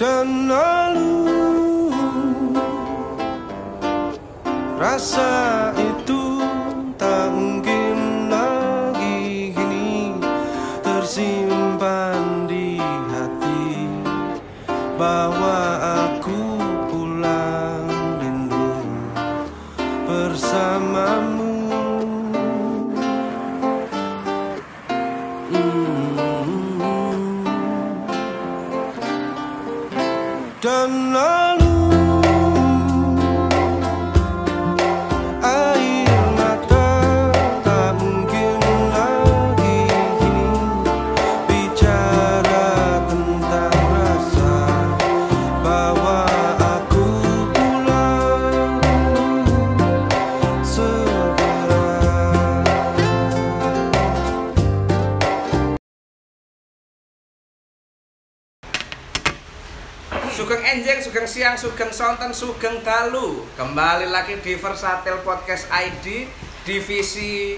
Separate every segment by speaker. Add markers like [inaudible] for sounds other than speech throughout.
Speaker 1: dan lalu Rasa itu tak mungkin lagi kini Tersimpan di hati Bahwa aku pulang rindu bersamamu Mm. dan lalu air mata tak mungkin lagi kini bicara tentang rasa bahwa aku pulang segera.
Speaker 2: Sugeng Enjing, Sugeng Siang, Sugeng Sonten, Sugeng Dalu Kembali lagi di Versatel Podcast ID Divisi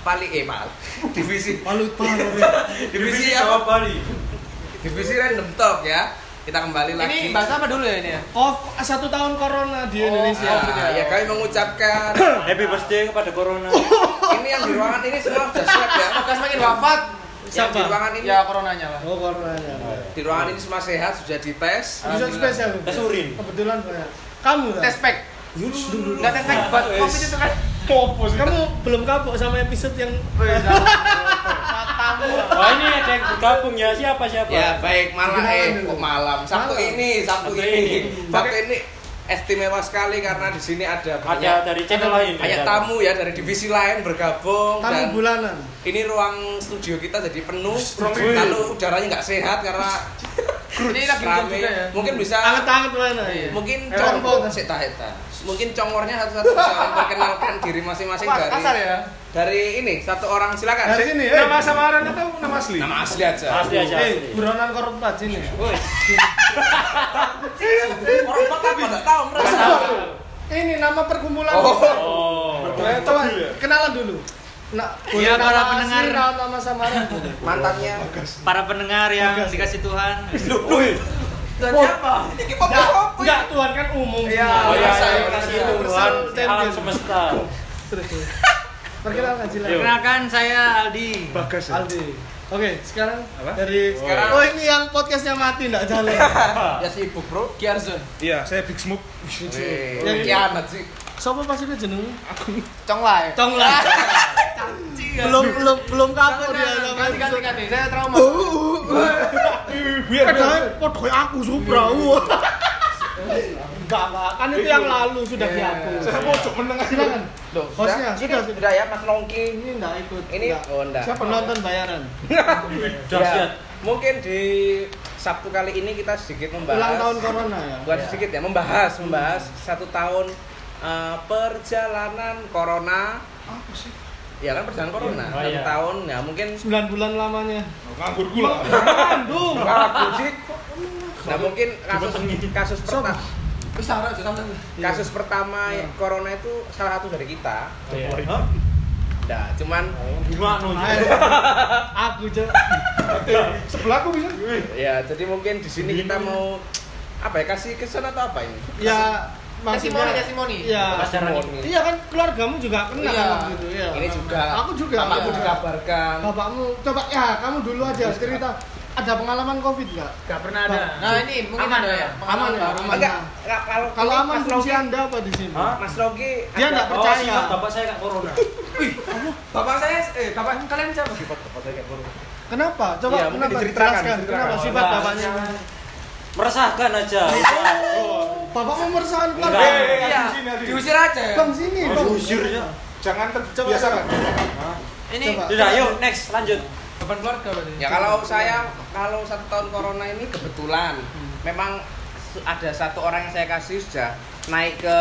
Speaker 2: Pali eh Pal Divisi
Speaker 3: Palut palut.
Speaker 2: Divisi apa?
Speaker 3: Bali.
Speaker 2: Divisi Random Talk ya Kita kembali lagi
Speaker 4: Ini bahasa apa dulu ya ini ya?
Speaker 3: Kof satu tahun corona
Speaker 5: Oh,
Speaker 3: di Indonesia.
Speaker 2: Ah,
Speaker 6: Iya,
Speaker 2: ya
Speaker 6: kan?
Speaker 2: kami mengucapkan
Speaker 7: [coughs] Happy birthday kepada Corona.
Speaker 2: Ini yang di ruangan ini semua sudah siap ya
Speaker 4: Maka semakin wafat
Speaker 2: Yang di
Speaker 3: Siapa?
Speaker 2: ruangan ini
Speaker 4: Ya coronanya lah
Speaker 3: Oh coronanya.
Speaker 2: Di ruangan ini semua sehat, sudah dites
Speaker 3: Episode spesial.
Speaker 7: Tes urin.
Speaker 3: Kebetulan banyak. Kamu kan?
Speaker 4: Tes pack Enggak tes pack buat covid itu kan
Speaker 3: popos. Kamu belum kapok sama episode yang
Speaker 5: Oh, iya,
Speaker 4: Matamu
Speaker 7: Wah Oh, ini ada yang bergabung ya siapa siapa?
Speaker 2: Ya baik, malam eh
Speaker 3: Gimana
Speaker 2: kok malam Sabtu
Speaker 3: Malam.
Speaker 2: ini, Sabtu
Speaker 7: Sabtu
Speaker 2: ini
Speaker 7: ini.
Speaker 2: Sabtu ini istimewa sekali karena di sini ada
Speaker 7: Ada
Speaker 2: banyak
Speaker 7: dari channel
Speaker 2: Ya.
Speaker 7: lain.
Speaker 2: banyak tamu ya dari divisi lain bergabung
Speaker 3: tamu
Speaker 2: dan
Speaker 3: bulanan.
Speaker 2: ini ruang studio kita jadi penuh lalu udaranya nggak sehat karena
Speaker 4: Ini lagi hujan
Speaker 2: rame
Speaker 4: juga ya
Speaker 2: mungkin bisa
Speaker 3: Anget-anget mana?
Speaker 4: Iya.
Speaker 2: mungkin
Speaker 3: Eh,
Speaker 2: congor
Speaker 3: rokok.
Speaker 2: sik tak, tak. mungkin congornya satu-satu bisa memperkenalkan diri masing-masing
Speaker 4: Wah, kasar
Speaker 2: dari
Speaker 4: ya
Speaker 2: dari ini satu orang silakan
Speaker 3: Dari sini ya.
Speaker 5: iya. Nama samaran atau nama asli? Oh.
Speaker 2: nama asli aja
Speaker 6: Iya,
Speaker 7: Asli aja.
Speaker 3: Eh,
Speaker 7: asli.
Speaker 3: buronan korupta sini.
Speaker 2: orang kota apa nggak tahu merasa
Speaker 3: Ini nama perkumpulan.
Speaker 2: oh
Speaker 7: Oh.
Speaker 3: Eh, Coba
Speaker 5: ya?
Speaker 3: kenalan dulu. Nah, boleh
Speaker 6: Iya,
Speaker 3: nama
Speaker 6: para
Speaker 3: asli,
Speaker 6: pendengar.
Speaker 3: nama- nama samaran.
Speaker 2: mantannya
Speaker 6: para pendengar yang dikasih Tuhan
Speaker 2: dan siapa ini apa
Speaker 3: Enggak, Tuhan kan umum.
Speaker 2: Iya.
Speaker 3: semua.
Speaker 7: Oh ya,
Speaker 2: Universal,
Speaker 7: terima kasih
Speaker 3: universal
Speaker 7: Tuhan, alam
Speaker 3: champion.
Speaker 7: semesta.
Speaker 3: Terus. terus. Perkenalkan
Speaker 7: Yuk.
Speaker 3: silakan.
Speaker 6: perkenalkan saya Aldi
Speaker 5: Bagas ya?
Speaker 3: Aldi. Oke, sekarang
Speaker 5: Apa?
Speaker 3: dari
Speaker 2: Sekarang-
Speaker 3: Oh, ini yang podcastnya mati enggak jalan.
Speaker 2: ya sibuk bro
Speaker 4: Giarzon
Speaker 5: Iya, saya Big Smoke.
Speaker 2: Wih,
Speaker 3: Yang ini.
Speaker 2: kiamat sih
Speaker 3: Sopo pasti ke jeneng?
Speaker 4: Conglai
Speaker 3: Tong lah. belum belum belum kapok dia sama
Speaker 4: Iya. Ganti ganti ganti Saya trauma
Speaker 5: Biar
Speaker 3: Padahal podoy aku Supra. Wah. Enggak, Pak. Kan itu yang lalu sudah dihapus.
Speaker 5: saya pojok menengah.
Speaker 3: Silakan.
Speaker 2: Loh, sudah,
Speaker 3: Hostnya, sudah,
Speaker 2: ini
Speaker 3: sudah.
Speaker 2: sudah ya Mas Nongki
Speaker 3: Ini enggak ikut.
Speaker 2: ini
Speaker 3: enggak.
Speaker 2: oh enggak
Speaker 3: Siapa nonton bayaran?
Speaker 7: Dahsyat.
Speaker 2: Ya, mungkin di Sabtu kali ini kita sedikit membahas
Speaker 3: Ulang tahun corona ya.
Speaker 2: bukan sedikit ya membahas membahas satu tahun eh, perjalanan corona
Speaker 5: Apa sih?
Speaker 2: ya kan perjalanan corona
Speaker 7: Oh,
Speaker 2: satu
Speaker 7: iya.
Speaker 2: tahun ya mungkin
Speaker 3: 9 bulan lamanya.
Speaker 5: Nganggur gula.
Speaker 3: Bandung.
Speaker 2: Aku sih. nah mungkin kasus kasus pertama
Speaker 4: Bisa orang sudah
Speaker 2: kasus pertama corona itu salah satu dari kita
Speaker 7: Hah?
Speaker 2: nah cuman
Speaker 7: Gimana no?
Speaker 3: Aku je.
Speaker 5: Sebelah aku bisa.
Speaker 2: ya jadi mungkin di sini kita mau apa ya kasih kesan atau apa ini
Speaker 3: Ya
Speaker 4: Testimoni testimoni
Speaker 3: Iya.
Speaker 7: Pacaran ini.
Speaker 2: Murni.
Speaker 3: Iya kan keluargamu juga kena
Speaker 4: Iya.
Speaker 3: kan gitu ya.
Speaker 2: ini juga
Speaker 3: Aku juga.
Speaker 2: aku
Speaker 3: Iya.
Speaker 2: dikabarkan
Speaker 3: Bapakmu coba ya kamu dulu aja cerita ada pengalaman covid nggak?
Speaker 6: Gak pernah ada
Speaker 4: Nah ini mungkin
Speaker 6: Aman
Speaker 4: ada
Speaker 6: ya?
Speaker 4: ya
Speaker 3: Aman ya?
Speaker 4: Pengalaman
Speaker 3: Aman.
Speaker 4: baru.
Speaker 2: enggak enggak, kalau
Speaker 3: Kalau
Speaker 2: ini
Speaker 3: aman
Speaker 2: Mas
Speaker 3: fungsi
Speaker 2: Logi
Speaker 3: anda apa di sini?
Speaker 7: Hah?
Speaker 2: Mas Logi
Speaker 3: Dia
Speaker 2: ada-
Speaker 3: nggak
Speaker 7: Oh,
Speaker 3: percaya.
Speaker 7: siap, bapak saya nggak corona.
Speaker 4: Bapak saya Eh bapak kalian siapa?
Speaker 3: Kenapa? Coba
Speaker 2: Iya, mungkin
Speaker 3: kenapa?
Speaker 2: diceritakan,
Speaker 3: Jelaskan.
Speaker 2: diceritakan.
Speaker 3: Kenapa sifat
Speaker 7: Bapak.
Speaker 3: bapaknya?
Speaker 7: Meresahkan aja.
Speaker 3: Bapak mau meresahkan keluarga.
Speaker 7: Enggak.
Speaker 5: Eh,
Speaker 4: Iya
Speaker 5: di sini, di sini.
Speaker 4: Diusir aja ya
Speaker 3: Bang sini, bang.
Speaker 7: Jujurnya.
Speaker 5: Jangan terbiasa kan.
Speaker 4: Ini
Speaker 3: Coba.
Speaker 7: Sudah, yuk next lanjut.
Speaker 4: beban keluarga berarti
Speaker 2: Ya kalau saya kalau satu tahun corona ini kebetulan memang su- ada satu orang yang saya kasih sudah naik ke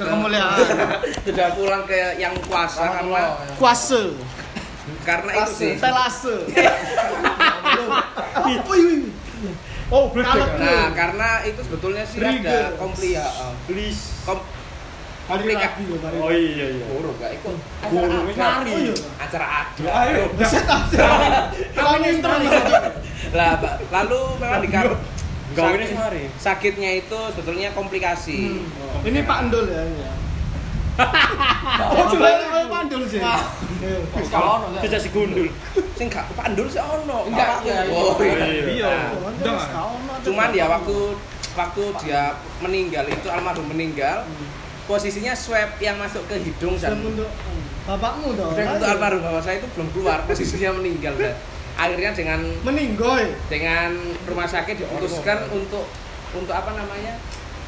Speaker 3: Ke kemuliaan.
Speaker 2: [laughs] sudah pulang ke yang kuasa karena
Speaker 3: Kuasa.
Speaker 2: karena itu sih. [laughs]
Speaker 3: Telase. Oh, iya, iya.
Speaker 5: Oh,
Speaker 3: Kalau
Speaker 5: bledek.
Speaker 2: Nah, karena itu sebetulnya sih ada
Speaker 3: Trigger.
Speaker 2: kompli ya. eh,
Speaker 7: Please.
Speaker 2: Kom
Speaker 3: Hari
Speaker 2: Mika.
Speaker 3: Rabu loh, hari.
Speaker 7: Oh iya iya.
Speaker 2: guru enggak ikut.
Speaker 7: Guru
Speaker 2: Acara
Speaker 3: iya.
Speaker 2: apa?
Speaker 7: wis lari.
Speaker 2: acara adu.
Speaker 5: Ayo.
Speaker 3: Set up. Kami internal.
Speaker 2: Lah, Pak, lalu memang di kamar
Speaker 7: Gawinnya semari.
Speaker 2: sakitnya itu sebetulnya komplikasi.
Speaker 4: Hmm.
Speaker 3: Ini Pak Endul ya. ini ya. Oh, sudah itu Pak Endul sih. Eh,
Speaker 2: ya.
Speaker 4: Kalau ya? ono
Speaker 7: Tidak segundul.
Speaker 2: Sing gak kepandur sih oh, ono.
Speaker 4: Enggak,
Speaker 2: Bapakku.
Speaker 4: iya, iya.
Speaker 2: Oh, iya.
Speaker 5: Iya. Udah nggak?
Speaker 2: Cuman ya waktu waktu dia meninggal itu almarhum meninggal posisinya swab yang masuk ke hidung
Speaker 3: dan
Speaker 2: dan
Speaker 3: untuk bapakmu dong.
Speaker 2: dan untuk
Speaker 3: ayo.
Speaker 2: almarhum bapak saya itu belum keluar posisinya meninggal dan akhirnya dengan
Speaker 3: Meninggoy.
Speaker 2: dengan rumah sakit diputuskan untuk untuk apa namanya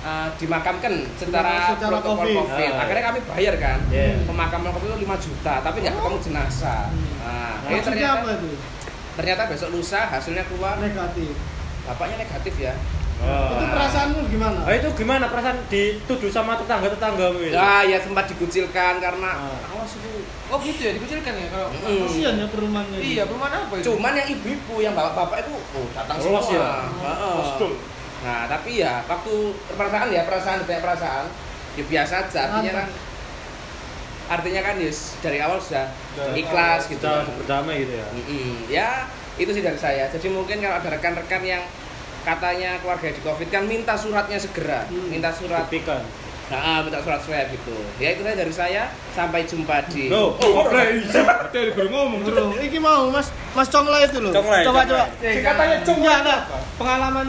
Speaker 2: eh, dimakamkan secara,
Speaker 3: Secara
Speaker 2: protokol
Speaker 3: COVID.
Speaker 2: COVID.
Speaker 7: Ah.
Speaker 2: Akhirnya kami bayar kan,
Speaker 7: Iya.
Speaker 2: pemakaman COVID itu 5 juta, tapi nggak ketemu jenazah. Nah, eh,
Speaker 3: Maksudnya
Speaker 2: ternyata,
Speaker 3: apa itu?
Speaker 2: ternyata besok lusa hasilnya keluar,
Speaker 3: Negatif.
Speaker 2: bapaknya negatif ya.
Speaker 3: Itu perasaanmu gimana?
Speaker 7: Ah, Oh. itu gimana perasaan dituduh sama tetangga-tetanggamu itu?
Speaker 2: Ah, ya sempat dikucilkan karena
Speaker 7: Iya. Ah.
Speaker 2: awas itu.
Speaker 4: Oh gitu ya dikucilkan ya kalau.
Speaker 2: Mm.
Speaker 3: Kasihan ya perumahannya.
Speaker 4: Iya, perumahan apa itu?
Speaker 2: Cuman yang ibu-ibu, yang bapak-bapak itu oh, datang
Speaker 7: Lolos
Speaker 2: semua.
Speaker 7: ya?
Speaker 2: Heeh. Nah, tapi ya waktu perasaan ya, perasaan banyak perasaan. Ya biasa aja, artinya kan artinya kan yes, dari awal sudah ikhlas gitu.
Speaker 7: Kita berdamai gitu ya.
Speaker 2: Mm-mm. Ya, itu sih dari saya. Jadi mungkin kalau ada rekan-rekan yang katanya keluarga di Covid kan minta suratnya segera, minta surat.
Speaker 7: Buktikan.
Speaker 2: Nah, minta surat swab gitu. Ya itu saja dari saya. Sampai jumpa di
Speaker 7: Loh,
Speaker 2: Oh,
Speaker 5: Dari baru ngomong.
Speaker 3: Bro, Iki mau Mas Mas Conglay itu loh.
Speaker 7: Conglay,
Speaker 3: coba coba.
Speaker 4: Eh,
Speaker 7: Conglay.
Speaker 3: Katanya
Speaker 4: kan.
Speaker 3: Conglay ada pengalaman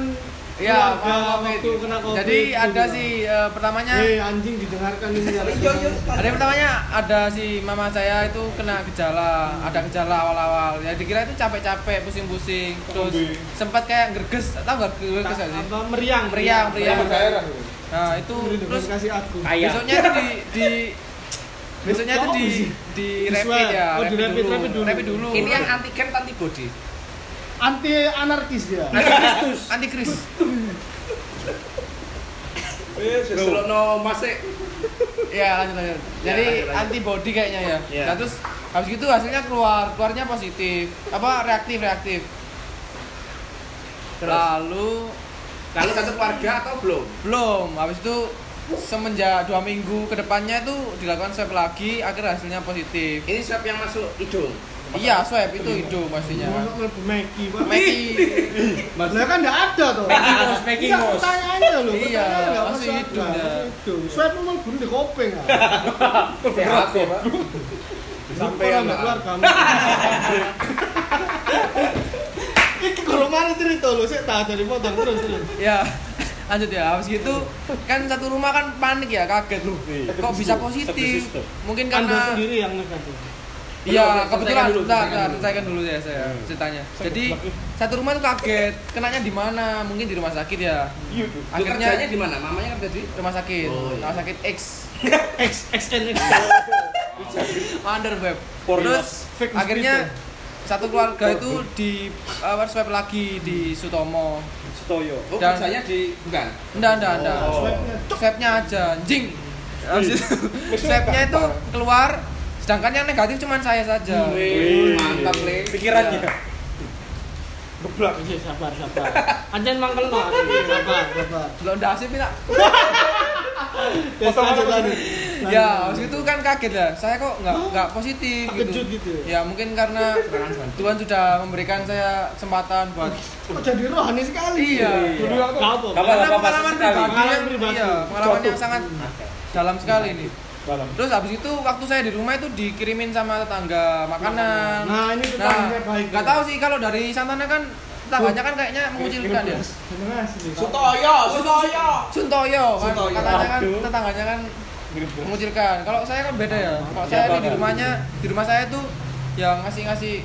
Speaker 4: Ya,
Speaker 3: keluarga Iya, waktu
Speaker 4: Covid.
Speaker 3: kena Covid.
Speaker 4: Jadi
Speaker 3: itu
Speaker 4: ada
Speaker 3: gimana?
Speaker 4: sih eh, pertamanya
Speaker 3: Eh anjing didengarkan ini ya.
Speaker 4: Ada yang pertamanya ada si mama saya itu kena gejala, ada gejala awal-awal. Ya dikira itu capek-capek, pusing-pusing, terus sempat kayak gerges, tahu nggak gerges nggak sih?
Speaker 3: Apa meriang Iya,
Speaker 4: Meriang, meriang.
Speaker 5: Daerah.
Speaker 4: Nah itu terus
Speaker 3: Terus kasih aku.
Speaker 7: Ayah.
Speaker 4: besoknya itu di, di besoknya itu di di
Speaker 3: Di
Speaker 4: rapid
Speaker 3: swab.
Speaker 4: ya,
Speaker 3: Oh, di rapid, rapid dulu.
Speaker 4: rapid dulu.
Speaker 2: Oh, ini yang antigen atau antibody.
Speaker 7: Eh,
Speaker 3: Anti anarkis dia.
Speaker 4: antikris.
Speaker 2: Wis
Speaker 7: eh,
Speaker 2: selokno masih
Speaker 4: Ya lanjut lanjut. Jadi
Speaker 2: lanjut, lanjut.
Speaker 4: antibody kayaknya ya.
Speaker 7: Iya.
Speaker 4: Nah terus habis gitu hasilnya keluar, keluarnya positif, apa reaktif reaktif. Lalu
Speaker 2: Lalu satu keluarga atau belum?
Speaker 4: belum, habis itu semenjak dua minggu ke depannya itu dilakukan swab lagi, akhirnya hasilnya positif.
Speaker 2: Ini swab yang masuk hidung.
Speaker 4: Iya swab itu hidung pastinya.
Speaker 3: Iya. Masuk mlebu Meki, Pak.
Speaker 4: Meki,
Speaker 3: Lah kan enggak ada toh.
Speaker 7: Making making
Speaker 3: Iya,
Speaker 7: mouse.
Speaker 3: pertanyaannya loh.
Speaker 4: Iya,
Speaker 3: pertanyaannya nggak
Speaker 4: masih
Speaker 3: masuk
Speaker 4: hidup
Speaker 3: akal,
Speaker 4: dah.
Speaker 3: masih hidup. Swab memang bunuh di kopeng ah.
Speaker 2: Berapa?
Speaker 3: Sampai yang
Speaker 2: Pak.
Speaker 3: keluar kamu. [laughs] Iki kalau mana cerita lo, saya tak dari potong terus terus.
Speaker 4: ya lanjut ya habis gitu kan satu rumah kan panik ya kaget loh
Speaker 7: Iya.
Speaker 4: kok bisa positif
Speaker 7: Sistem.
Speaker 4: mungkin
Speaker 3: Anda
Speaker 4: karena
Speaker 3: sendiri yang negatif.
Speaker 4: Iya, kebetulan
Speaker 2: kan dulu,
Speaker 4: bentar,
Speaker 2: selesaikan
Speaker 4: bentar,
Speaker 2: dulu. Iya.
Speaker 4: selesaikan dulu ya saya ceritanya. Jadi satu rumah tuh kaget, kenanya di mana? Mungkin di rumah sakit ya.
Speaker 2: Akhirnya
Speaker 4: Akhirnya
Speaker 2: di mana? Mamanya kerja Iya, di
Speaker 4: rumah sakit,
Speaker 2: Oh, iya.
Speaker 4: rumah sakit
Speaker 2: [laughs]
Speaker 4: X,
Speaker 3: X X N X.
Speaker 4: [laughs] Wonder Web.
Speaker 7: Porno.
Speaker 4: Terus
Speaker 3: Fake
Speaker 4: akhirnya satu keluarga itu di eh, apa swab lagi di Sutomo.
Speaker 7: Stoyo.
Speaker 2: Oh,
Speaker 4: Dan-
Speaker 2: kerjanya di bukan.
Speaker 4: Enggak, enggak, enggak.
Speaker 7: Oh.
Speaker 3: Swabnya
Speaker 4: Swabnya aja, anjing.
Speaker 2: Iya.
Speaker 4: Habis itu, Swabnya itu keluar, sedangkan yang negatif cuman saya saja.
Speaker 2: Wih, mantap, Iya. Le.
Speaker 7: Pikirannya.
Speaker 3: geblak. Iya, sabar sabar. Anjan mangkel
Speaker 4: [laughs]
Speaker 3: no. Sabar sabar.
Speaker 4: Belum dasip ya.
Speaker 3: Ya lanjut lanjut.
Speaker 4: Ya, waktu itu kan kaget lah. Saya kok nggak nggak positif
Speaker 3: Terkejut gitu
Speaker 4: Ya mungkin karena Tuhan sudah memberikan saya kesempatan buat
Speaker 3: Kok jadi rohani sekali?
Speaker 4: Iya.
Speaker 5: Dulu aku
Speaker 3: Gak apa.
Speaker 7: Apa,
Speaker 4: karena
Speaker 7: apa,
Speaker 4: pengalaman
Speaker 7: sekali.
Speaker 4: pribadi,
Speaker 3: Pengalaman
Speaker 4: yang-
Speaker 3: pribadi.
Speaker 4: iya, pengalaman yang sangat dalam sekali ini.
Speaker 5: Dalam.
Speaker 4: Terus habis itu waktu saya di rumah itu dikirimin sama tetangga makanan.
Speaker 3: Nah, ini
Speaker 4: Nah,
Speaker 3: tetangga baik.
Speaker 4: nggak tahu sih kalau dari Santana kan tetangganya kan kayaknya mengucilkan ya.
Speaker 3: Terima kasih.
Speaker 2: Sutoyo, Sutoyo.
Speaker 4: Suntoyo kan
Speaker 2: Suntoyo.
Speaker 4: katanya kan
Speaker 5: Aduh.
Speaker 4: tetangganya kan mengucilkan. Kalau saya kan beda ya. Kalau saya
Speaker 7: Siapa
Speaker 4: ini di
Speaker 7: kan?
Speaker 4: rumahnya di rumah saya tuh yang ngasih-ngasih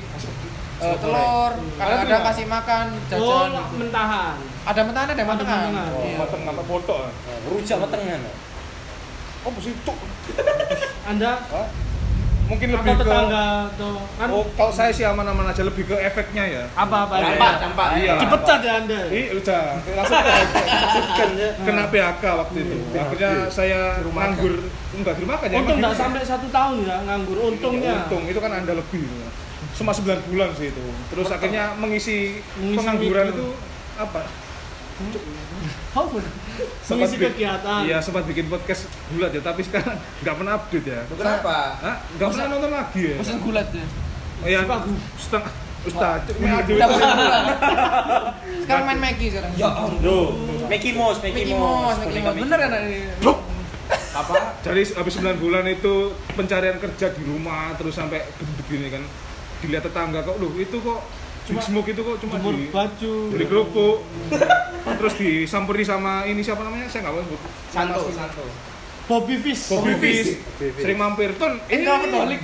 Speaker 4: eh, telur, kadang-kadang kasih makan
Speaker 3: Oh,
Speaker 4: jajan. gitu.
Speaker 3: mentahan.
Speaker 4: Ada mentangan, ada mentangan.
Speaker 3: mentangan.
Speaker 5: Oh,
Speaker 4: Iya.
Speaker 5: mateng nggak foto.
Speaker 7: Rujak
Speaker 2: kan?
Speaker 7: metengan.
Speaker 5: Oh, mesti cuk.
Speaker 3: Anda
Speaker 5: Hah? Mungkin
Speaker 3: atau
Speaker 5: lebih ke
Speaker 3: tetangga atau kan
Speaker 5: Oh, kalau saya sih aman-aman aja lebih ke efeknya ya.
Speaker 3: apa-apa ya.
Speaker 2: Dampak, dampak.
Speaker 5: Iya.
Speaker 3: Dipecat ya Anda. ya.
Speaker 5: Ih, udah langsung kena PHK waktu itu. Akhirnya saya nganggur enggak di rumah kan ya.
Speaker 3: Untung
Speaker 5: emang
Speaker 3: nggak
Speaker 5: di-
Speaker 3: sampai satu tahun ya nganggur. Untungnya.
Speaker 5: Iya, Untung itu kan Anda lebih. ya. Cuma 9 bulan sih itu. Terus akhirnya mengisi,
Speaker 3: Mengisi
Speaker 5: pengangguran
Speaker 3: minggu.
Speaker 5: itu apa?
Speaker 3: How good. Mengisi
Speaker 5: bi-
Speaker 3: kegiatan.
Speaker 5: Iya, sempat bikin podcast gulat ya, tapi sekarang nggak pernah update ya.
Speaker 2: Kenapa?
Speaker 5: Hah? Nggak pernah nonton lagi ya.
Speaker 4: Pesen gulat ya.
Speaker 5: Iya,
Speaker 3: Suka gu-
Speaker 5: setengah Ustaz, cuma
Speaker 4: Udah bukan bulan. Sekarang main Maggie sekarang. Ya
Speaker 8: Loh, Mickey Mouse, Mickey,
Speaker 4: Mickey Mouse, Mickey Mouse. Bener kan ini?
Speaker 2: apa
Speaker 5: Jadi habis 9 bulan itu pencarian kerja di rumah terus sampai begini kan. Dilihat tetangga kok, loh itu kok cuma smoke itu kok cuma
Speaker 3: Jemur
Speaker 5: di
Speaker 3: baju.
Speaker 5: beli kerupuk terus disamperi sama ini siapa namanya saya nggak mau sebut
Speaker 2: santo santo
Speaker 3: Bobby Fish.
Speaker 5: Bobby Fish sering mampir ton ini alkoholik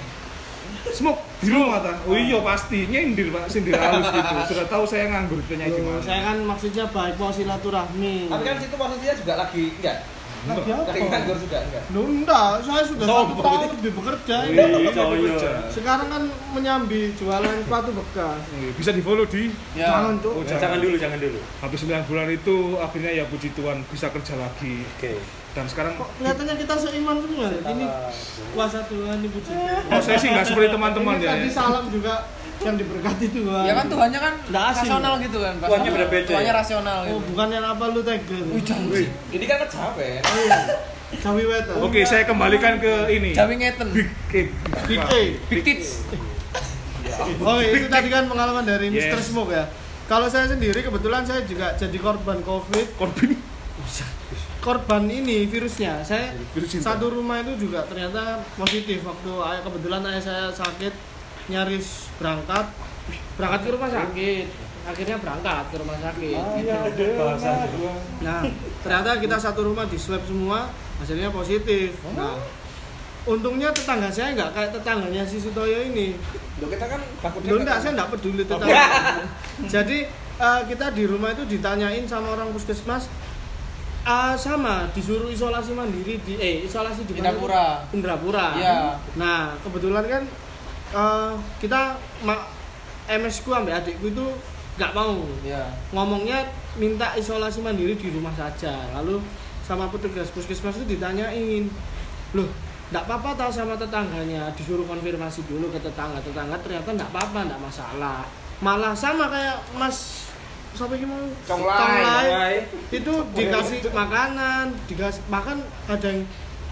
Speaker 5: smoke di rumah ta oh iya pasti nyindir pak sindir halus gitu sudah tahu saya nganggur ditanya
Speaker 3: Loh,
Speaker 5: gimana
Speaker 3: Saya kan maksudnya baik mau silaturahmi.
Speaker 2: tapi kan situ posisinya juga lagi enggak
Speaker 3: Lagi apa?
Speaker 2: lagi nganggur juga enggak
Speaker 3: Loh, enggak, saya sudah satu
Speaker 5: Sombong.
Speaker 3: tahun lebih bekerja ini.
Speaker 5: Wih,
Speaker 8: Oh, iya.
Speaker 5: kerja.
Speaker 3: Sekarang kan menyambi jualan sepatu bekas.
Speaker 5: Wih, bisa di follow di
Speaker 4: Ya.
Speaker 3: Jangan tuh.
Speaker 5: Oh,
Speaker 8: Jangan dulu, jangan dulu.
Speaker 5: habis 9 bulan itu akhirnya ya puji Tuhan bisa kerja lagi
Speaker 8: Oke.
Speaker 5: dan sekarang
Speaker 3: Kok kelihatannya kita seiman semua. ya? Ini kuasa Tuhan ibu Tuhan.
Speaker 5: oh saya sih nggak seperti teman-teman
Speaker 3: Ini kan
Speaker 5: ya
Speaker 3: tadi
Speaker 5: ya.
Speaker 3: salam juga yang diberkati Tuhan.
Speaker 4: Ya kan Tuhannya kan
Speaker 3: Nggak asing.
Speaker 4: rasional gitu kan. Pak.
Speaker 8: Tuhannya beda-beda
Speaker 4: Tuhannya
Speaker 8: ya?
Speaker 4: rasional
Speaker 3: Oh,
Speaker 4: gitu.
Speaker 3: bukan yang apa lu Tiger.
Speaker 4: Wih, janji.
Speaker 2: ini kan kecapean
Speaker 3: Oh, iya. Jawi Wetan.
Speaker 5: oke saya kembalikan ke ini
Speaker 4: Jawi ngeten.
Speaker 5: Big Kid.
Speaker 3: Big A.
Speaker 4: Big tits.
Speaker 3: Oke, itu tadi kan pengalaman dari
Speaker 5: Yes.
Speaker 3: Mr. Smoke ya. Kalau saya sendiri kebetulan saya juga jadi korban Covid.
Speaker 5: Corbin
Speaker 3: Korban ini virusnya. Saya
Speaker 5: Virus cinta.
Speaker 3: satu rumah itu juga ternyata positif waktu ayah kebetulan ayah saya sakit nyaris berangkat berangkat ke rumah sakit. Akhirnya berangkat ke rumah sakit. Gitu.
Speaker 8: Bahasa dulu.
Speaker 3: Nah, ternyata kita satu rumah di swab semua, hasilnya positif. Nah, untungnya tetangga saya nggak kayak tetangganya si Sutoyo ini.
Speaker 2: lo kita kan takutnya
Speaker 3: Loh enggak, saya enggak peduli
Speaker 4: [laughs]
Speaker 3: tetangga. Jadi eh, kita di rumah itu ditanyain sama orang puskesmas eh, sama disuruh isolasi mandiri di eh isolasi di mana tuh?
Speaker 4: Indrapura.
Speaker 3: Indrapura.
Speaker 4: Iya.
Speaker 3: Nah, kebetulan kan eh, kita ma- MS ku ambil adikku itu nggak mau.
Speaker 4: Iya.
Speaker 3: Ngomongnya minta isolasi mandiri di rumah saja. Lalu sama petugas puskesmas itu ditanyain, "Loh, nggak apa-apa tahu sama tetangganya disuruh konfirmasi dulu ke tetangga tetangga ternyata nggak apa-apa nggak masalah malah sama kayak mas siapa yang mau
Speaker 2: Cong Lai.
Speaker 3: Cong Lai.
Speaker 2: Cong Lai.
Speaker 3: itu dikasih makanan dikasih makan ada yang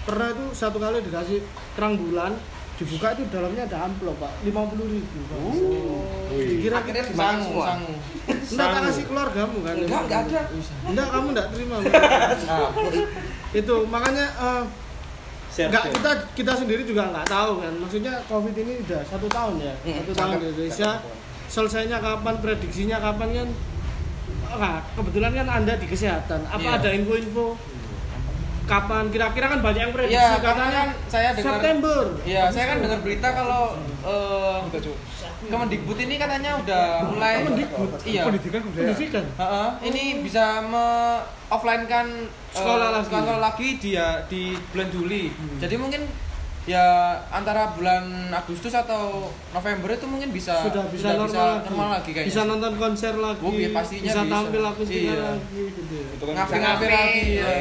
Speaker 3: pernah itu satu kali dikasih terang bulan dibuka itu dalamnya ada amplop pak lima puluh ribu pak.
Speaker 2: Oh.
Speaker 3: dikira
Speaker 2: akhirnya dimakan
Speaker 4: Sangu,
Speaker 2: semua
Speaker 4: sangu.
Speaker 3: enggak tak kasih keluargamu kan
Speaker 2: enggak enggak ada
Speaker 3: enggak kamu enggak terima
Speaker 2: Cabut.
Speaker 3: itu makanya eh,
Speaker 8: Share.
Speaker 3: Nggak, kita kita sendiri juga nggak tahu kan. Maksudnya COVID ini udah satu tahun ya,
Speaker 2: Mm,
Speaker 3: satu tahun di
Speaker 2: cakep,
Speaker 3: Indonesia. Selesainya kapan, prediksinya kapan kan? Nah, kebetulan kan anda di kesehatan. Apa
Speaker 4: Iya.
Speaker 3: ada info-info kapan? Kira-kira kan banyak yang prediksi
Speaker 4: Iya, karena
Speaker 3: katanya
Speaker 4: kan saya dengar
Speaker 3: September.
Speaker 4: Iya, saya kan dengar berita kalau eh Kemendikbud ini katanya udah mulai
Speaker 3: Kemendikbud?
Speaker 4: Iya.
Speaker 5: pendidikan kebudayaan
Speaker 3: pendidikan.
Speaker 4: Heeh, ini bisa me offline kan
Speaker 3: Sekolah lagi.
Speaker 4: sekolah lagi dia di bulan Juli. Jadi mungkin ya antara bulan Agustus atau November itu mungkin bisa
Speaker 3: Sudah bisa normal, lagi.
Speaker 4: normal lagi kayaknya.
Speaker 3: Bisa nonton konser lagi.
Speaker 4: Oh, iya, pastinya
Speaker 3: bisa
Speaker 4: bisa.
Speaker 3: tampil aku
Speaker 4: Iya.
Speaker 3: lagi gitu ya.
Speaker 2: Itu kan
Speaker 4: ngafe-ngafe
Speaker 2: bisa.
Speaker 4: lagi, ya.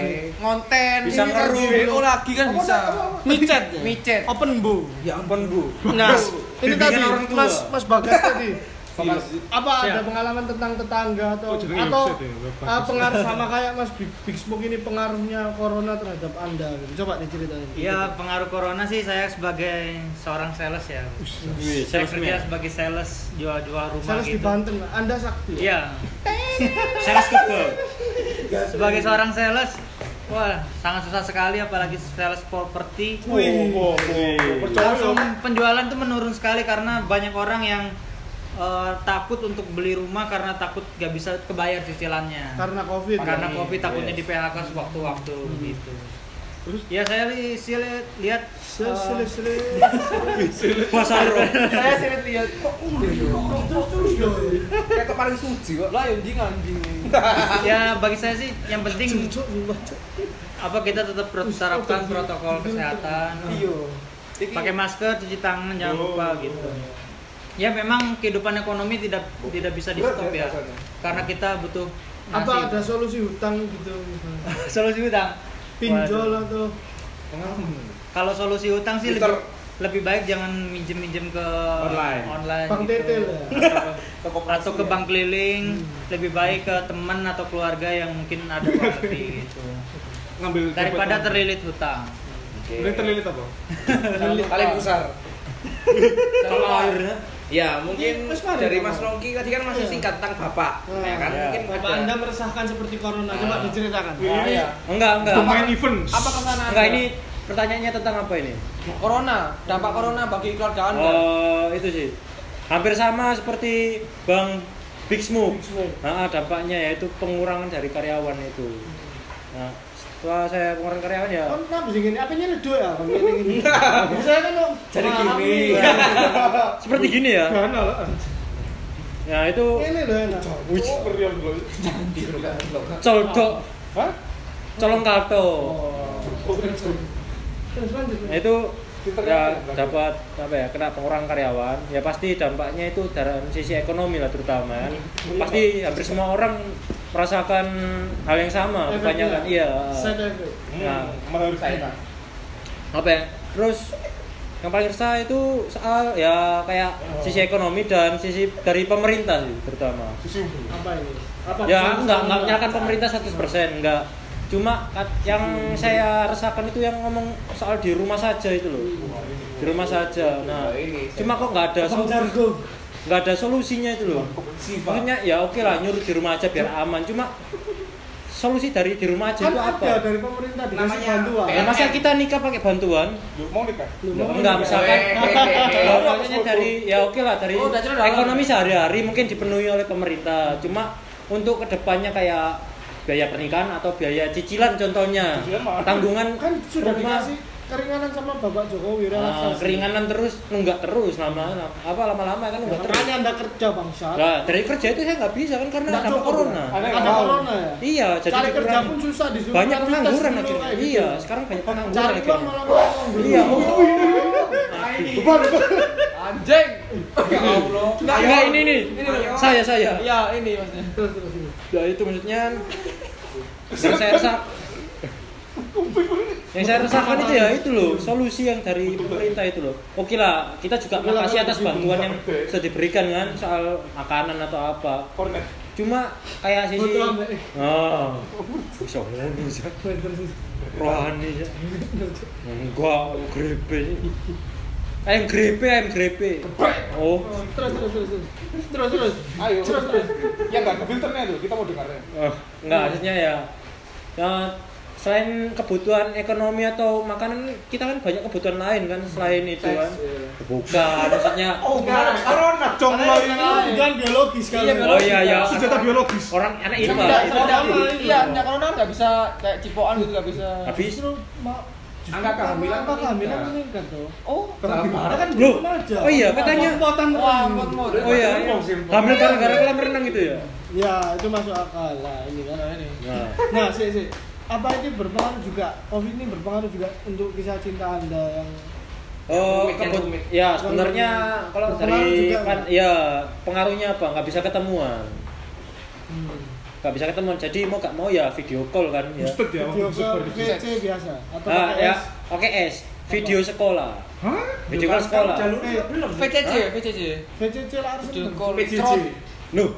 Speaker 4: ngonten,
Speaker 8: Bisa
Speaker 4: ini kan
Speaker 8: ngeru.
Speaker 4: di WO lagi kan bisa.
Speaker 3: Micet, ya?
Speaker 4: Micet.
Speaker 3: open book.
Speaker 2: ya ampun bu
Speaker 3: Nah, ini
Speaker 8: Bimbingan
Speaker 3: tadi
Speaker 8: orang tua.
Speaker 3: Mas Mas Bagas tadi
Speaker 2: Bagas.
Speaker 3: apa ada pengalaman tentang tetangga atau
Speaker 5: Oh, jadi
Speaker 3: atau
Speaker 5: website ya, Bagas.
Speaker 3: ah, pengaruh sama kayak Mas Big, Big Smoke ini pengaruhnya corona terhadap Anda gitu. Coba diceritain.
Speaker 7: Iya pengaruh corona sih saya sebagai seorang sales ya.
Speaker 8: Wih,
Speaker 7: Saya
Speaker 8: salesman.
Speaker 7: kerja sebagai sales jual-jual rumah
Speaker 3: Sales di
Speaker 7: gitu.
Speaker 3: Banten, Anda sakti.
Speaker 7: Iya.
Speaker 8: Sales kebal.
Speaker 7: Sebagai seorang sales, wah sangat susah sekali apalagi sales properti.
Speaker 8: Oh, wih.
Speaker 7: Langsung penjualan tuh menurun sekali karena banyak orang yang eh, takut untuk beli rumah karena takut gak bisa kebayar cicilannya.
Speaker 3: Karena Covid.
Speaker 7: karena
Speaker 3: ya.
Speaker 7: covid takutnya di PHK sewaktu-waktu gitu ya saya li, si li- lihat
Speaker 3: Sel-
Speaker 7: eh,
Speaker 3: Selip selip.
Speaker 8: Bahasa roh.
Speaker 2: saya sering lihat kok udah
Speaker 3: Terus terus dong.
Speaker 2: kayak kemarin suci kok
Speaker 4: Lah anjing anjing.
Speaker 7: [laughs] ya bagi saya sih yang penting
Speaker 3: Cuk, cuk, cuk.
Speaker 7: apa kita tetap pro- terapkan protokol kesehatan
Speaker 3: Iya.
Speaker 7: pakai masker cuci tangan jangan lupa gitu ya memang kehidupan ekonomi tidak tidak bisa di stop ya karena kita butuh
Speaker 3: Apa ada
Speaker 7: nasi
Speaker 3: solusi hutang gitu? misalnya?
Speaker 7: solusi hutang
Speaker 3: Pinjol
Speaker 7: Waduh.
Speaker 3: atau
Speaker 7: kalau solusi hutang sih
Speaker 2: Mister-
Speaker 7: lebih, lebih baik jangan minjem-minjem ke
Speaker 8: Online.
Speaker 7: online
Speaker 3: Bank
Speaker 7: gitu.
Speaker 3: tetel ya?
Speaker 7: Atau-
Speaker 2: Ke koperasi
Speaker 7: atau [laughs] ke
Speaker 2: ya.
Speaker 7: bank keliling
Speaker 3: Hmm.
Speaker 7: lebih baik ke teman atau keluarga yang mungkin [laughs] ada mengerti gitu
Speaker 5: ngambil
Speaker 7: daripada terlilit hutang
Speaker 5: terlilit apa
Speaker 2: paling besar
Speaker 4: Kalau
Speaker 2: Ya mungkin
Speaker 3: Ini Mas Fahri,
Speaker 2: dari
Speaker 3: Pak.
Speaker 2: Mas Rongki tadi kan masih
Speaker 3: Iya.
Speaker 2: singkat tentang bapak,
Speaker 3: Hmm.
Speaker 2: ya kan?
Speaker 7: Iya.
Speaker 2: Mungkin
Speaker 3: Bapak
Speaker 2: ada-
Speaker 3: Anda meresahkan seperti corona, coba diceritakan.
Speaker 4: Ah, iya.
Speaker 7: Enggak, enggak.
Speaker 5: The main events.
Speaker 4: Apa kesan Anda?
Speaker 7: Enggak, ini pertanyaannya tentang apa ini?
Speaker 4: corona, dampak corona bagi keluarga Anda.
Speaker 7: Oh, itu sih. Hampir sama seperti Bang Big Smoke.
Speaker 3: Big Smoke.
Speaker 7: Nah, dampaknya yaitu pengurangan dari karyawan itu. Nah, setelah saya pengurangan karyawan ya
Speaker 3: Kan kenapa sih gini? Apa ini leduk ya? Kan gini gini. Saya kan kok ya.
Speaker 7: Jadi
Speaker 3: maaf
Speaker 7: gini.
Speaker 3: nih.
Speaker 7: seperti gini ya.
Speaker 5: Dana lah.
Speaker 7: Ya itu
Speaker 3: Ini loh enak.
Speaker 7: Wih,
Speaker 5: Oh, meriam gue.
Speaker 7: colok
Speaker 5: Hah?
Speaker 7: colong kato.
Speaker 5: Oh,
Speaker 3: Terus lanjut.
Speaker 7: Nah, itu ya dapat apa ya kena pengurangan karyawan ya pasti dampaknya itu dari sisi ekonomi lah terutama kan. pasti hampir semua orang merasakan hal yang sama
Speaker 3: Efeknya.
Speaker 7: kebanyakan iya
Speaker 3: Side effect.
Speaker 7: Nah,
Speaker 5: menurut saya.
Speaker 7: apa ya terus yang paling resah itu soal ya kayak sisi ekonomi dan sisi dari pemerintah sih terutama
Speaker 3: Apa ini? Apa?
Speaker 7: ya nggak nggak menyalahkan pemerintah 100% nggak cuma kat- yang saya resahkan itu yang ngomong soal di rumah saja itu loh di rumah saja nah cuma kok nggak ada
Speaker 3: Bang
Speaker 7: solu-
Speaker 3: Jargo.
Speaker 7: nggak ada solusinya itu loh maksudnya ya oke lah nyuruh di rumah aja biar aman cuma solusi dari di rumah aja
Speaker 3: Kan
Speaker 7: itu apa
Speaker 3: ada dari pemerintah dikasih
Speaker 2: Namanya
Speaker 3: bantuan.
Speaker 7: Nah, masa kita nikah pakai bantuan
Speaker 5: Lu mau nikah?
Speaker 7: Loh, enggak misalkan
Speaker 2: Hehehe.
Speaker 7: Loh, maksudnya Iya, dari ya oke lah dari
Speaker 4: Oh, udah cerita.
Speaker 7: ekonomi sehari-hari mungkin dipenuhi oleh pemerintah cuma untuk kedepannya kayak biaya pernikahan atau biaya cicilan contohnya
Speaker 5: Cicilan mah ada.
Speaker 7: tanggungan
Speaker 3: Iya, Kan sudah
Speaker 7: rumah
Speaker 3: dikasih Iya, keringanan sama Bapak Jokowi
Speaker 7: ah,
Speaker 3: relaksasi.
Speaker 7: keringanan terus nunggak terus lama lama apa lama-lama kan nunggak terus
Speaker 3: Makanya Anda kerja bangsa.
Speaker 7: nah, dari kerja itu saya nggak bisa kan karena
Speaker 3: Nggak
Speaker 7: ada
Speaker 3: cukup,
Speaker 7: corona
Speaker 3: Ada
Speaker 5: Ada yang
Speaker 3: corona ya?
Speaker 7: iya jadi
Speaker 3: Cari kerja
Speaker 7: dikurangi.
Speaker 3: pun susah disuruh
Speaker 7: banyak
Speaker 3: cari tes
Speaker 7: pengangguran
Speaker 3: dulu
Speaker 7: akhirnya
Speaker 3: kayak gitu.
Speaker 7: iya sekarang banyak pengangguran
Speaker 3: Cari uang
Speaker 7: akhirnya
Speaker 3: malah ngomong.
Speaker 7: iya
Speaker 5: Beban, beban.
Speaker 4: Anjing.
Speaker 2: Ya Allah.
Speaker 4: Enggak, ya.
Speaker 7: enggak ini nih
Speaker 4: Ini loh.
Speaker 7: saya saya
Speaker 4: Iya, ini maksudnya.
Speaker 3: Terus terus. terus.
Speaker 7: ya itu maksudnya yang saya resah yang saya resahkan itu ya itu loh solusi yang dari pemerintah itu loh oke lah kita juga
Speaker 5: Oke lah,
Speaker 7: makasih
Speaker 5: kalau
Speaker 7: atas
Speaker 5: gitu,
Speaker 7: bantuan
Speaker 5: nggak
Speaker 7: yang
Speaker 5: gede.
Speaker 7: sudah diberikan kan soal makanan atau apa
Speaker 5: Kornet.
Speaker 7: cuma kayak sisi
Speaker 3: Betul, Mbak.
Speaker 7: oh bisa ngono sih
Speaker 3: Terus, terus, terus.
Speaker 7: rohani sih enggak Eh, grepe ayam grepe ayam grepe oh
Speaker 3: Terus terus terus. terus. Terus terus.
Speaker 5: Ayo.
Speaker 3: Terus terus.
Speaker 5: Ya enggak ada filternya tuh, kita mau dengarnya.
Speaker 7: Eh, enggak maksudnya ya ya, selain kebutuhan ekonomi atau makanan kita kan banyak kebutuhan lain kan selain itu kan bukan maksudnya
Speaker 3: Hmm, iya. Oh, enggak.
Speaker 5: Corona, dong lo
Speaker 3: Karena ini bukan biologis kan.
Speaker 4: Iya,
Speaker 7: oh iya ya
Speaker 5: Senjata biologis.
Speaker 7: orang anak itu
Speaker 4: Enggak,
Speaker 3: itu
Speaker 4: enggak,
Speaker 3: apa
Speaker 4: enggak.
Speaker 3: itu?
Speaker 4: Iya, hanya corona enggak bisa kayak cipokan gitu enggak bisa.
Speaker 7: habis
Speaker 3: Justru mau
Speaker 2: Angka kehamilan
Speaker 3: angka kehamilan
Speaker 2: meningkat.
Speaker 3: meningkat tuh.
Speaker 4: Oh,
Speaker 3: Karena kan
Speaker 7: Loh,
Speaker 3: belum aja.
Speaker 7: oh iya, katanya-
Speaker 3: Potong
Speaker 4: wah,
Speaker 3: rambut.
Speaker 4: mau
Speaker 7: oh iya hamil gara-gara kolam renang itu ya
Speaker 3: Ya, itu masuk akal lah ini kan ini.
Speaker 7: nah
Speaker 3: Nah, sih sih. Apa ini berpengaruh juga? Covid ini berpengaruh juga untuk kisah cinta Anda yang
Speaker 7: Oh,
Speaker 2: Yang rumit, yang
Speaker 7: kebut-
Speaker 2: rumit.
Speaker 7: ya sebenarnya kalau
Speaker 3: Berpengaruh
Speaker 7: dari
Speaker 3: juga,
Speaker 7: pan-
Speaker 3: Mbak.
Speaker 7: ya pengaruhnya apa? Nggak bisa ketemuan,
Speaker 3: hmm,
Speaker 7: nggak bisa ketemuan. Jadi mau nggak mau ya video call kan ya.
Speaker 5: Busted ya,
Speaker 3: hmm, video
Speaker 5: busted.
Speaker 3: call VC biasa atau
Speaker 7: Ah,
Speaker 3: pakai
Speaker 7: ya,
Speaker 3: S?
Speaker 7: oke es, video sekolah,
Speaker 5: Hah?
Speaker 7: video call sekolah.
Speaker 3: Eh,
Speaker 4: VCC, VCC.
Speaker 3: VCC lah harus
Speaker 4: Video
Speaker 3: seneng.
Speaker 4: call.
Speaker 5: PCC.
Speaker 4: Trot.
Speaker 7: Loh.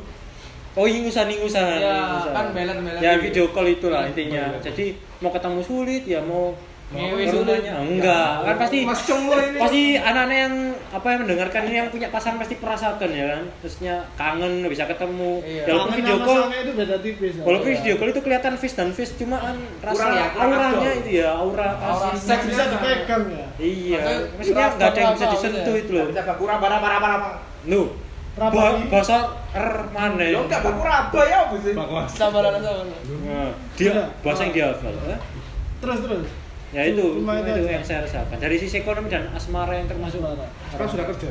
Speaker 7: Oh, ingusan ingusan.
Speaker 4: Ya, kan beler-beler.
Speaker 7: Ya video call itulah intinya. Jadi mau ketemu sulit ya mau
Speaker 4: Ngewe
Speaker 7: ke
Speaker 4: sulit.
Speaker 7: rumahnya. enggak. Kan pasti
Speaker 5: Mas Cong lo ini.
Speaker 7: pasti anak-anak yang apa yang mendengarkan ini yang punya pasangan pasti merasakan ya kan. Terusnya kangen nggak bisa ketemu.
Speaker 4: Iya.
Speaker 7: Ya, walaupun
Speaker 3: Kangen
Speaker 7: video
Speaker 3: sama
Speaker 7: call
Speaker 3: sange itu beda tipis. ya.
Speaker 7: walaupun video call itu kelihatan face dan face cuma kan rasa
Speaker 2: Kurang ya, kurang
Speaker 7: auranya
Speaker 2: abdol.
Speaker 7: itu ya, aura
Speaker 4: Aura
Speaker 7: kasih.
Speaker 4: seks
Speaker 3: bisa dipegang ya.
Speaker 7: Iya,
Speaker 4: Maksudnya
Speaker 7: maksudnya nggak ada yang bisa
Speaker 4: raba-raba,
Speaker 7: disentuh
Speaker 4: maksudnya.
Speaker 7: itu loh.
Speaker 2: Bakura bara bara bara.
Speaker 7: Nuh,
Speaker 3: Raba
Speaker 7: bah-
Speaker 3: ini.
Speaker 7: bahasa R mana ya?
Speaker 2: Lo enggak bakura apa ya apa sih?
Speaker 5: Bakwas.
Speaker 4: Sabar lah, sabar. lah.
Speaker 7: Nah,
Speaker 3: Iya.
Speaker 7: dia bahasa yang dia hafal ya.
Speaker 3: Terus terus.
Speaker 7: ya itu
Speaker 3: Iya. Cuma itu
Speaker 7: itu
Speaker 3: aja.
Speaker 7: yang saya rasakan dari sisi ekonomi dan asmara yang termasuk
Speaker 3: Suara.
Speaker 5: Sekarang sudah kerja.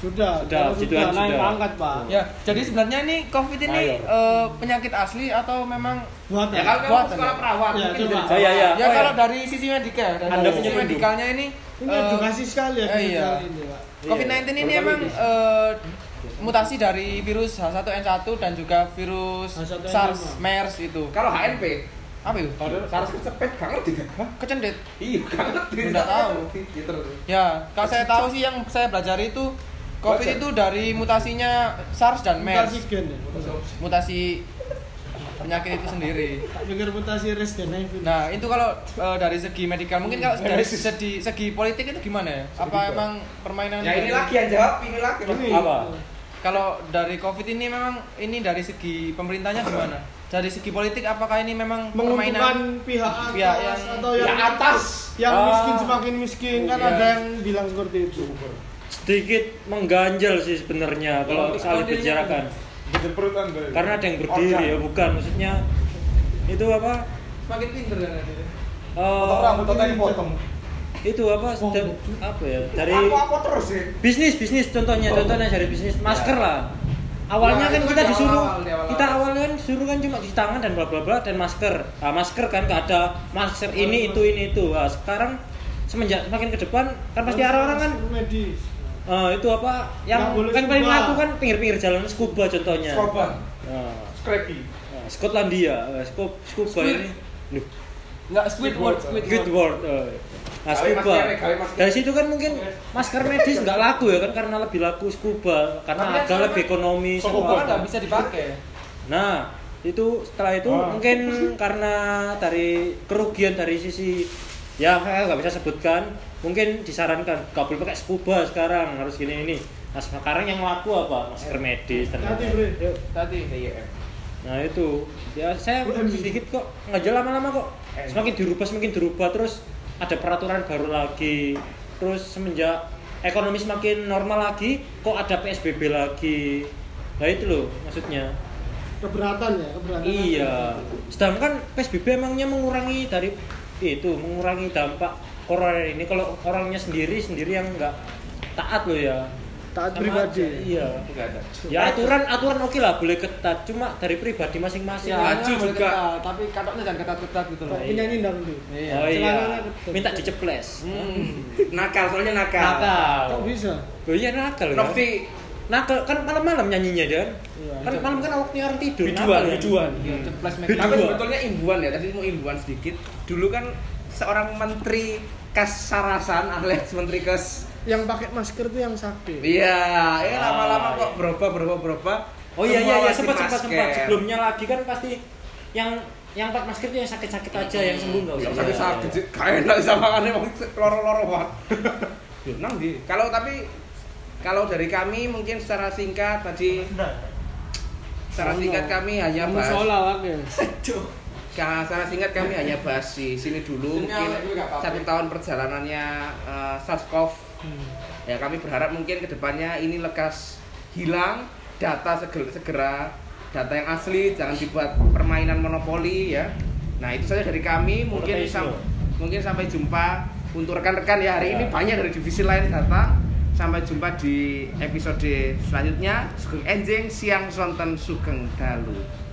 Speaker 3: Sudah,
Speaker 7: Sudah,
Speaker 3: kalau
Speaker 7: gitu kan,
Speaker 3: naik
Speaker 7: sudah.
Speaker 3: pangkat, Pak.
Speaker 4: Ya, jadi sebenarnya ini COVID ini
Speaker 7: Mayor.
Speaker 4: eh, penyakit asli atau memang
Speaker 3: Buat
Speaker 2: Ya kalau kamu
Speaker 4: Buat,
Speaker 2: sekolah
Speaker 4: ya.
Speaker 2: perawat
Speaker 3: Ya,
Speaker 2: mungkin
Speaker 3: coba.
Speaker 2: jadi
Speaker 7: oh ya ya
Speaker 4: ya
Speaker 7: Oh,
Speaker 4: kalau dari sisi medika, dari
Speaker 7: Anda
Speaker 4: sisi
Speaker 7: punya induk.
Speaker 4: medikalnya ini
Speaker 3: Ini
Speaker 4: eh,
Speaker 3: edukasi sekali ya
Speaker 4: eh,
Speaker 3: kita
Speaker 4: iya.
Speaker 3: kali ini, Pak.
Speaker 4: COVID-19 ini
Speaker 7: Iya.
Speaker 4: emang eh, mutasi dari virus H1N1 dan juga virus
Speaker 3: H1N1.
Speaker 4: SARS, MERS itu.
Speaker 2: kalau HNP
Speaker 4: Apa itu?
Speaker 2: harus kecepet gak ngerti kan?
Speaker 4: Kecendet.
Speaker 2: Iya, gak ngerti.
Speaker 4: Nggak tahu.
Speaker 2: Gitu terus.
Speaker 4: Ya, kalau saya tahu sih yang saya pelajari itu COVID
Speaker 2: Belajar.
Speaker 4: itu dari mutasinya SARS dan MERS.
Speaker 3: Mutasi gen ya.
Speaker 4: Mutasi penyakit itu sendiri.
Speaker 3: tak pikir ya, mutasi Resident Evil
Speaker 4: Nah, itu kalau eh, dari segi medikal, mungkin kalau dari
Speaker 5: Nemesis.
Speaker 4: segi, segi politik itu gimana ya? Apa emang permainan
Speaker 2: Ya ini lagi yang jawab, ini lagi. Pak.
Speaker 3: Ini.
Speaker 7: Apa?
Speaker 4: Kalau dari Covid ini memang ini dari segi pemerintahnya gimana? Dari segi politik apakah ini memang permainan
Speaker 3: menguntungkan pihak atas
Speaker 4: Pihak yang-
Speaker 3: atau yang atas yang
Speaker 7: Ah.
Speaker 3: miskin semakin miskin kan
Speaker 4: Iya.
Speaker 3: ada yang bilang seperti itu
Speaker 7: Sedikit mengganjal sih sebenarnya kalau
Speaker 4: Kalau
Speaker 7: saling
Speaker 4: dirinya-
Speaker 7: bicarakan.
Speaker 5: Gitu perutan Bay.
Speaker 7: Karena ada yang berdiri ya, bukan maksudnya itu apa?
Speaker 4: semakin pinter kan?
Speaker 7: eh,
Speaker 5: Potong rambut atau yang potong.
Speaker 7: itu apa? sedang- apa ya? Dari
Speaker 5: Aku aku terus sih.
Speaker 7: bisnis bisnis contohnya contohnya dari bisnis masker lah
Speaker 4: Nah,
Speaker 7: awalnya kan
Speaker 4: itu kan
Speaker 7: kita
Speaker 4: di
Speaker 7: disuruh
Speaker 4: awal-awal, di awal-awal.
Speaker 7: kita awalnya kan disuruh kan cuma cuci tangan dan bla bla bla dan masker nah, masker kan gak ada masker ini itu ini itu nah, sekarang semenjak semakin ke depan kan pasti orang-orang kan
Speaker 3: medis
Speaker 7: eh, itu apa
Speaker 3: Nggak
Speaker 7: yang
Speaker 3: boleh
Speaker 7: kan paling
Speaker 3: scuba.
Speaker 7: laku kan pinggir-pinggir jalan scuba contohnya
Speaker 5: Korban.
Speaker 7: Nah,
Speaker 5: Scrappy.
Speaker 7: nah, Skotlandia eh, scu- scuba
Speaker 4: Squid.
Speaker 7: ini Duh,
Speaker 4: Enggak Squidward,
Speaker 7: Good
Speaker 4: Squidward.
Speaker 7: word. eh. Nah,
Speaker 2: Gawe
Speaker 7: scuba.
Speaker 2: maskernya, gawe maskernya.
Speaker 7: Dari situ kan mungkin masker medis
Speaker 4: [laughs]
Speaker 7: nggak laku ya kan karena lebih laku scuba karena
Speaker 4: Tapi kan
Speaker 7: harga
Speaker 4: sekarang
Speaker 7: lebih
Speaker 4: kan
Speaker 7: ekonomi.
Speaker 4: Squidward kan nggak bisa Ah. dipakai.
Speaker 7: Nah, itu setelah itu
Speaker 5: Wah.
Speaker 7: mungkin
Speaker 4: [laughs]
Speaker 7: karena dari kerugian dari sisi ya saya nggak bisa sebutkan mungkin disarankan nggak boleh pakai scuba sekarang harus gini ini nah sekarang yang laku apa masker medis
Speaker 3: nanti
Speaker 7: ternyata
Speaker 3: bre
Speaker 4: Tadi
Speaker 7: nah itu ya saya
Speaker 3: UMI.
Speaker 7: sedikit kok nggak lama-lama kok semakin dirubah semakin dirubah terus ada peraturan baru lagi terus semenjak ekonomi semakin normal lagi kok ada psbb lagi nah itu loh maksudnya
Speaker 3: keberatan ya keberatan
Speaker 7: Iya. Sedangkan PSBB emangnya mengurangi dari itu, mengurangi dampak corona ini kalau orangnya sendiri sendiri yang nggak taat loh ya.
Speaker 3: taat
Speaker 7: Sama aja,
Speaker 3: pribadi
Speaker 7: Iya.
Speaker 2: Enggak ada.
Speaker 7: Ya aturan aturan oke lah boleh ketat, cuma dari pribadi masing-masing.
Speaker 4: Ya,
Speaker 3: Iya.
Speaker 7: aja.
Speaker 4: boleh
Speaker 5: juga.
Speaker 4: ketat, tapi katanya jangan ketat-ketat gitu loh.
Speaker 3: Kayak penyanyi dangdut
Speaker 4: Iya.
Speaker 7: Oh iya.
Speaker 3: Celananya ketat.
Speaker 7: Minta diceples.
Speaker 2: Hmm.
Speaker 4: Hmm.
Speaker 2: Nakal, soalnya nakal.
Speaker 3: kok
Speaker 7: Nakal.
Speaker 3: bisa
Speaker 7: Oh iya nakal. ya.
Speaker 2: Nokti.
Speaker 7: Nakal kan malam-malam nyanyinya dia.
Speaker 3: Iya,
Speaker 7: Kan malam kan waktunya orang tidur.
Speaker 5: Biduan,
Speaker 7: nakal ya.
Speaker 5: biduan.
Speaker 4: Ceplas make
Speaker 2: Tapi
Speaker 7: Dua.
Speaker 2: sebetulnya imbuan ya, tadi mau imbuan sedikit. Dulu kan seorang menteri kesarasan alias menteri kes
Speaker 3: yang pakai masker tuh yang sakit
Speaker 2: Iya, ya
Speaker 7: Ah,
Speaker 2: lama-lama kok
Speaker 7: iya.
Speaker 2: berubah berubah berubah.
Speaker 7: Oh iya
Speaker 2: Semua
Speaker 7: iya iya
Speaker 2: wajib
Speaker 7: sempat sempat
Speaker 2: masker.
Speaker 7: sempat sebelumnya lagi kan pasti yang yang pakai masker itu yang sakit-sakit aja yang sembuh nggak usah.
Speaker 2: Yang sakit sakit kayak enak sama kan emang loro-loro banget. Yo Ya, nang di. Kalau tapi kalau dari kami mungkin secara singkat tadi secara singkat kami hanya
Speaker 3: kamu
Speaker 2: bahas
Speaker 3: seolah oke
Speaker 2: Ka- secara singkat kami hanya bahas di sini dulu
Speaker 4: Sini awal dulu
Speaker 2: mungkin
Speaker 4: nggak apa-apa.
Speaker 2: satu tahun perjalanannya eh, Sarskov
Speaker 4: Hmm.
Speaker 2: ya kami berharap mungkin kedepannya ini lekas hilang data segera, segera data yang asli jangan dibuat permainan monopoli ya nah itu saja dari kami mungkin
Speaker 7: Monetize
Speaker 2: sam-
Speaker 7: lo.
Speaker 2: mungkin sampai jumpa untuk rekan-rekan ya hari
Speaker 7: Ya.
Speaker 2: ini banyak dari divisi lain datang sampai jumpa di episode selanjutnya Sugeng Enjing Siang Sonten Sugeng Dalu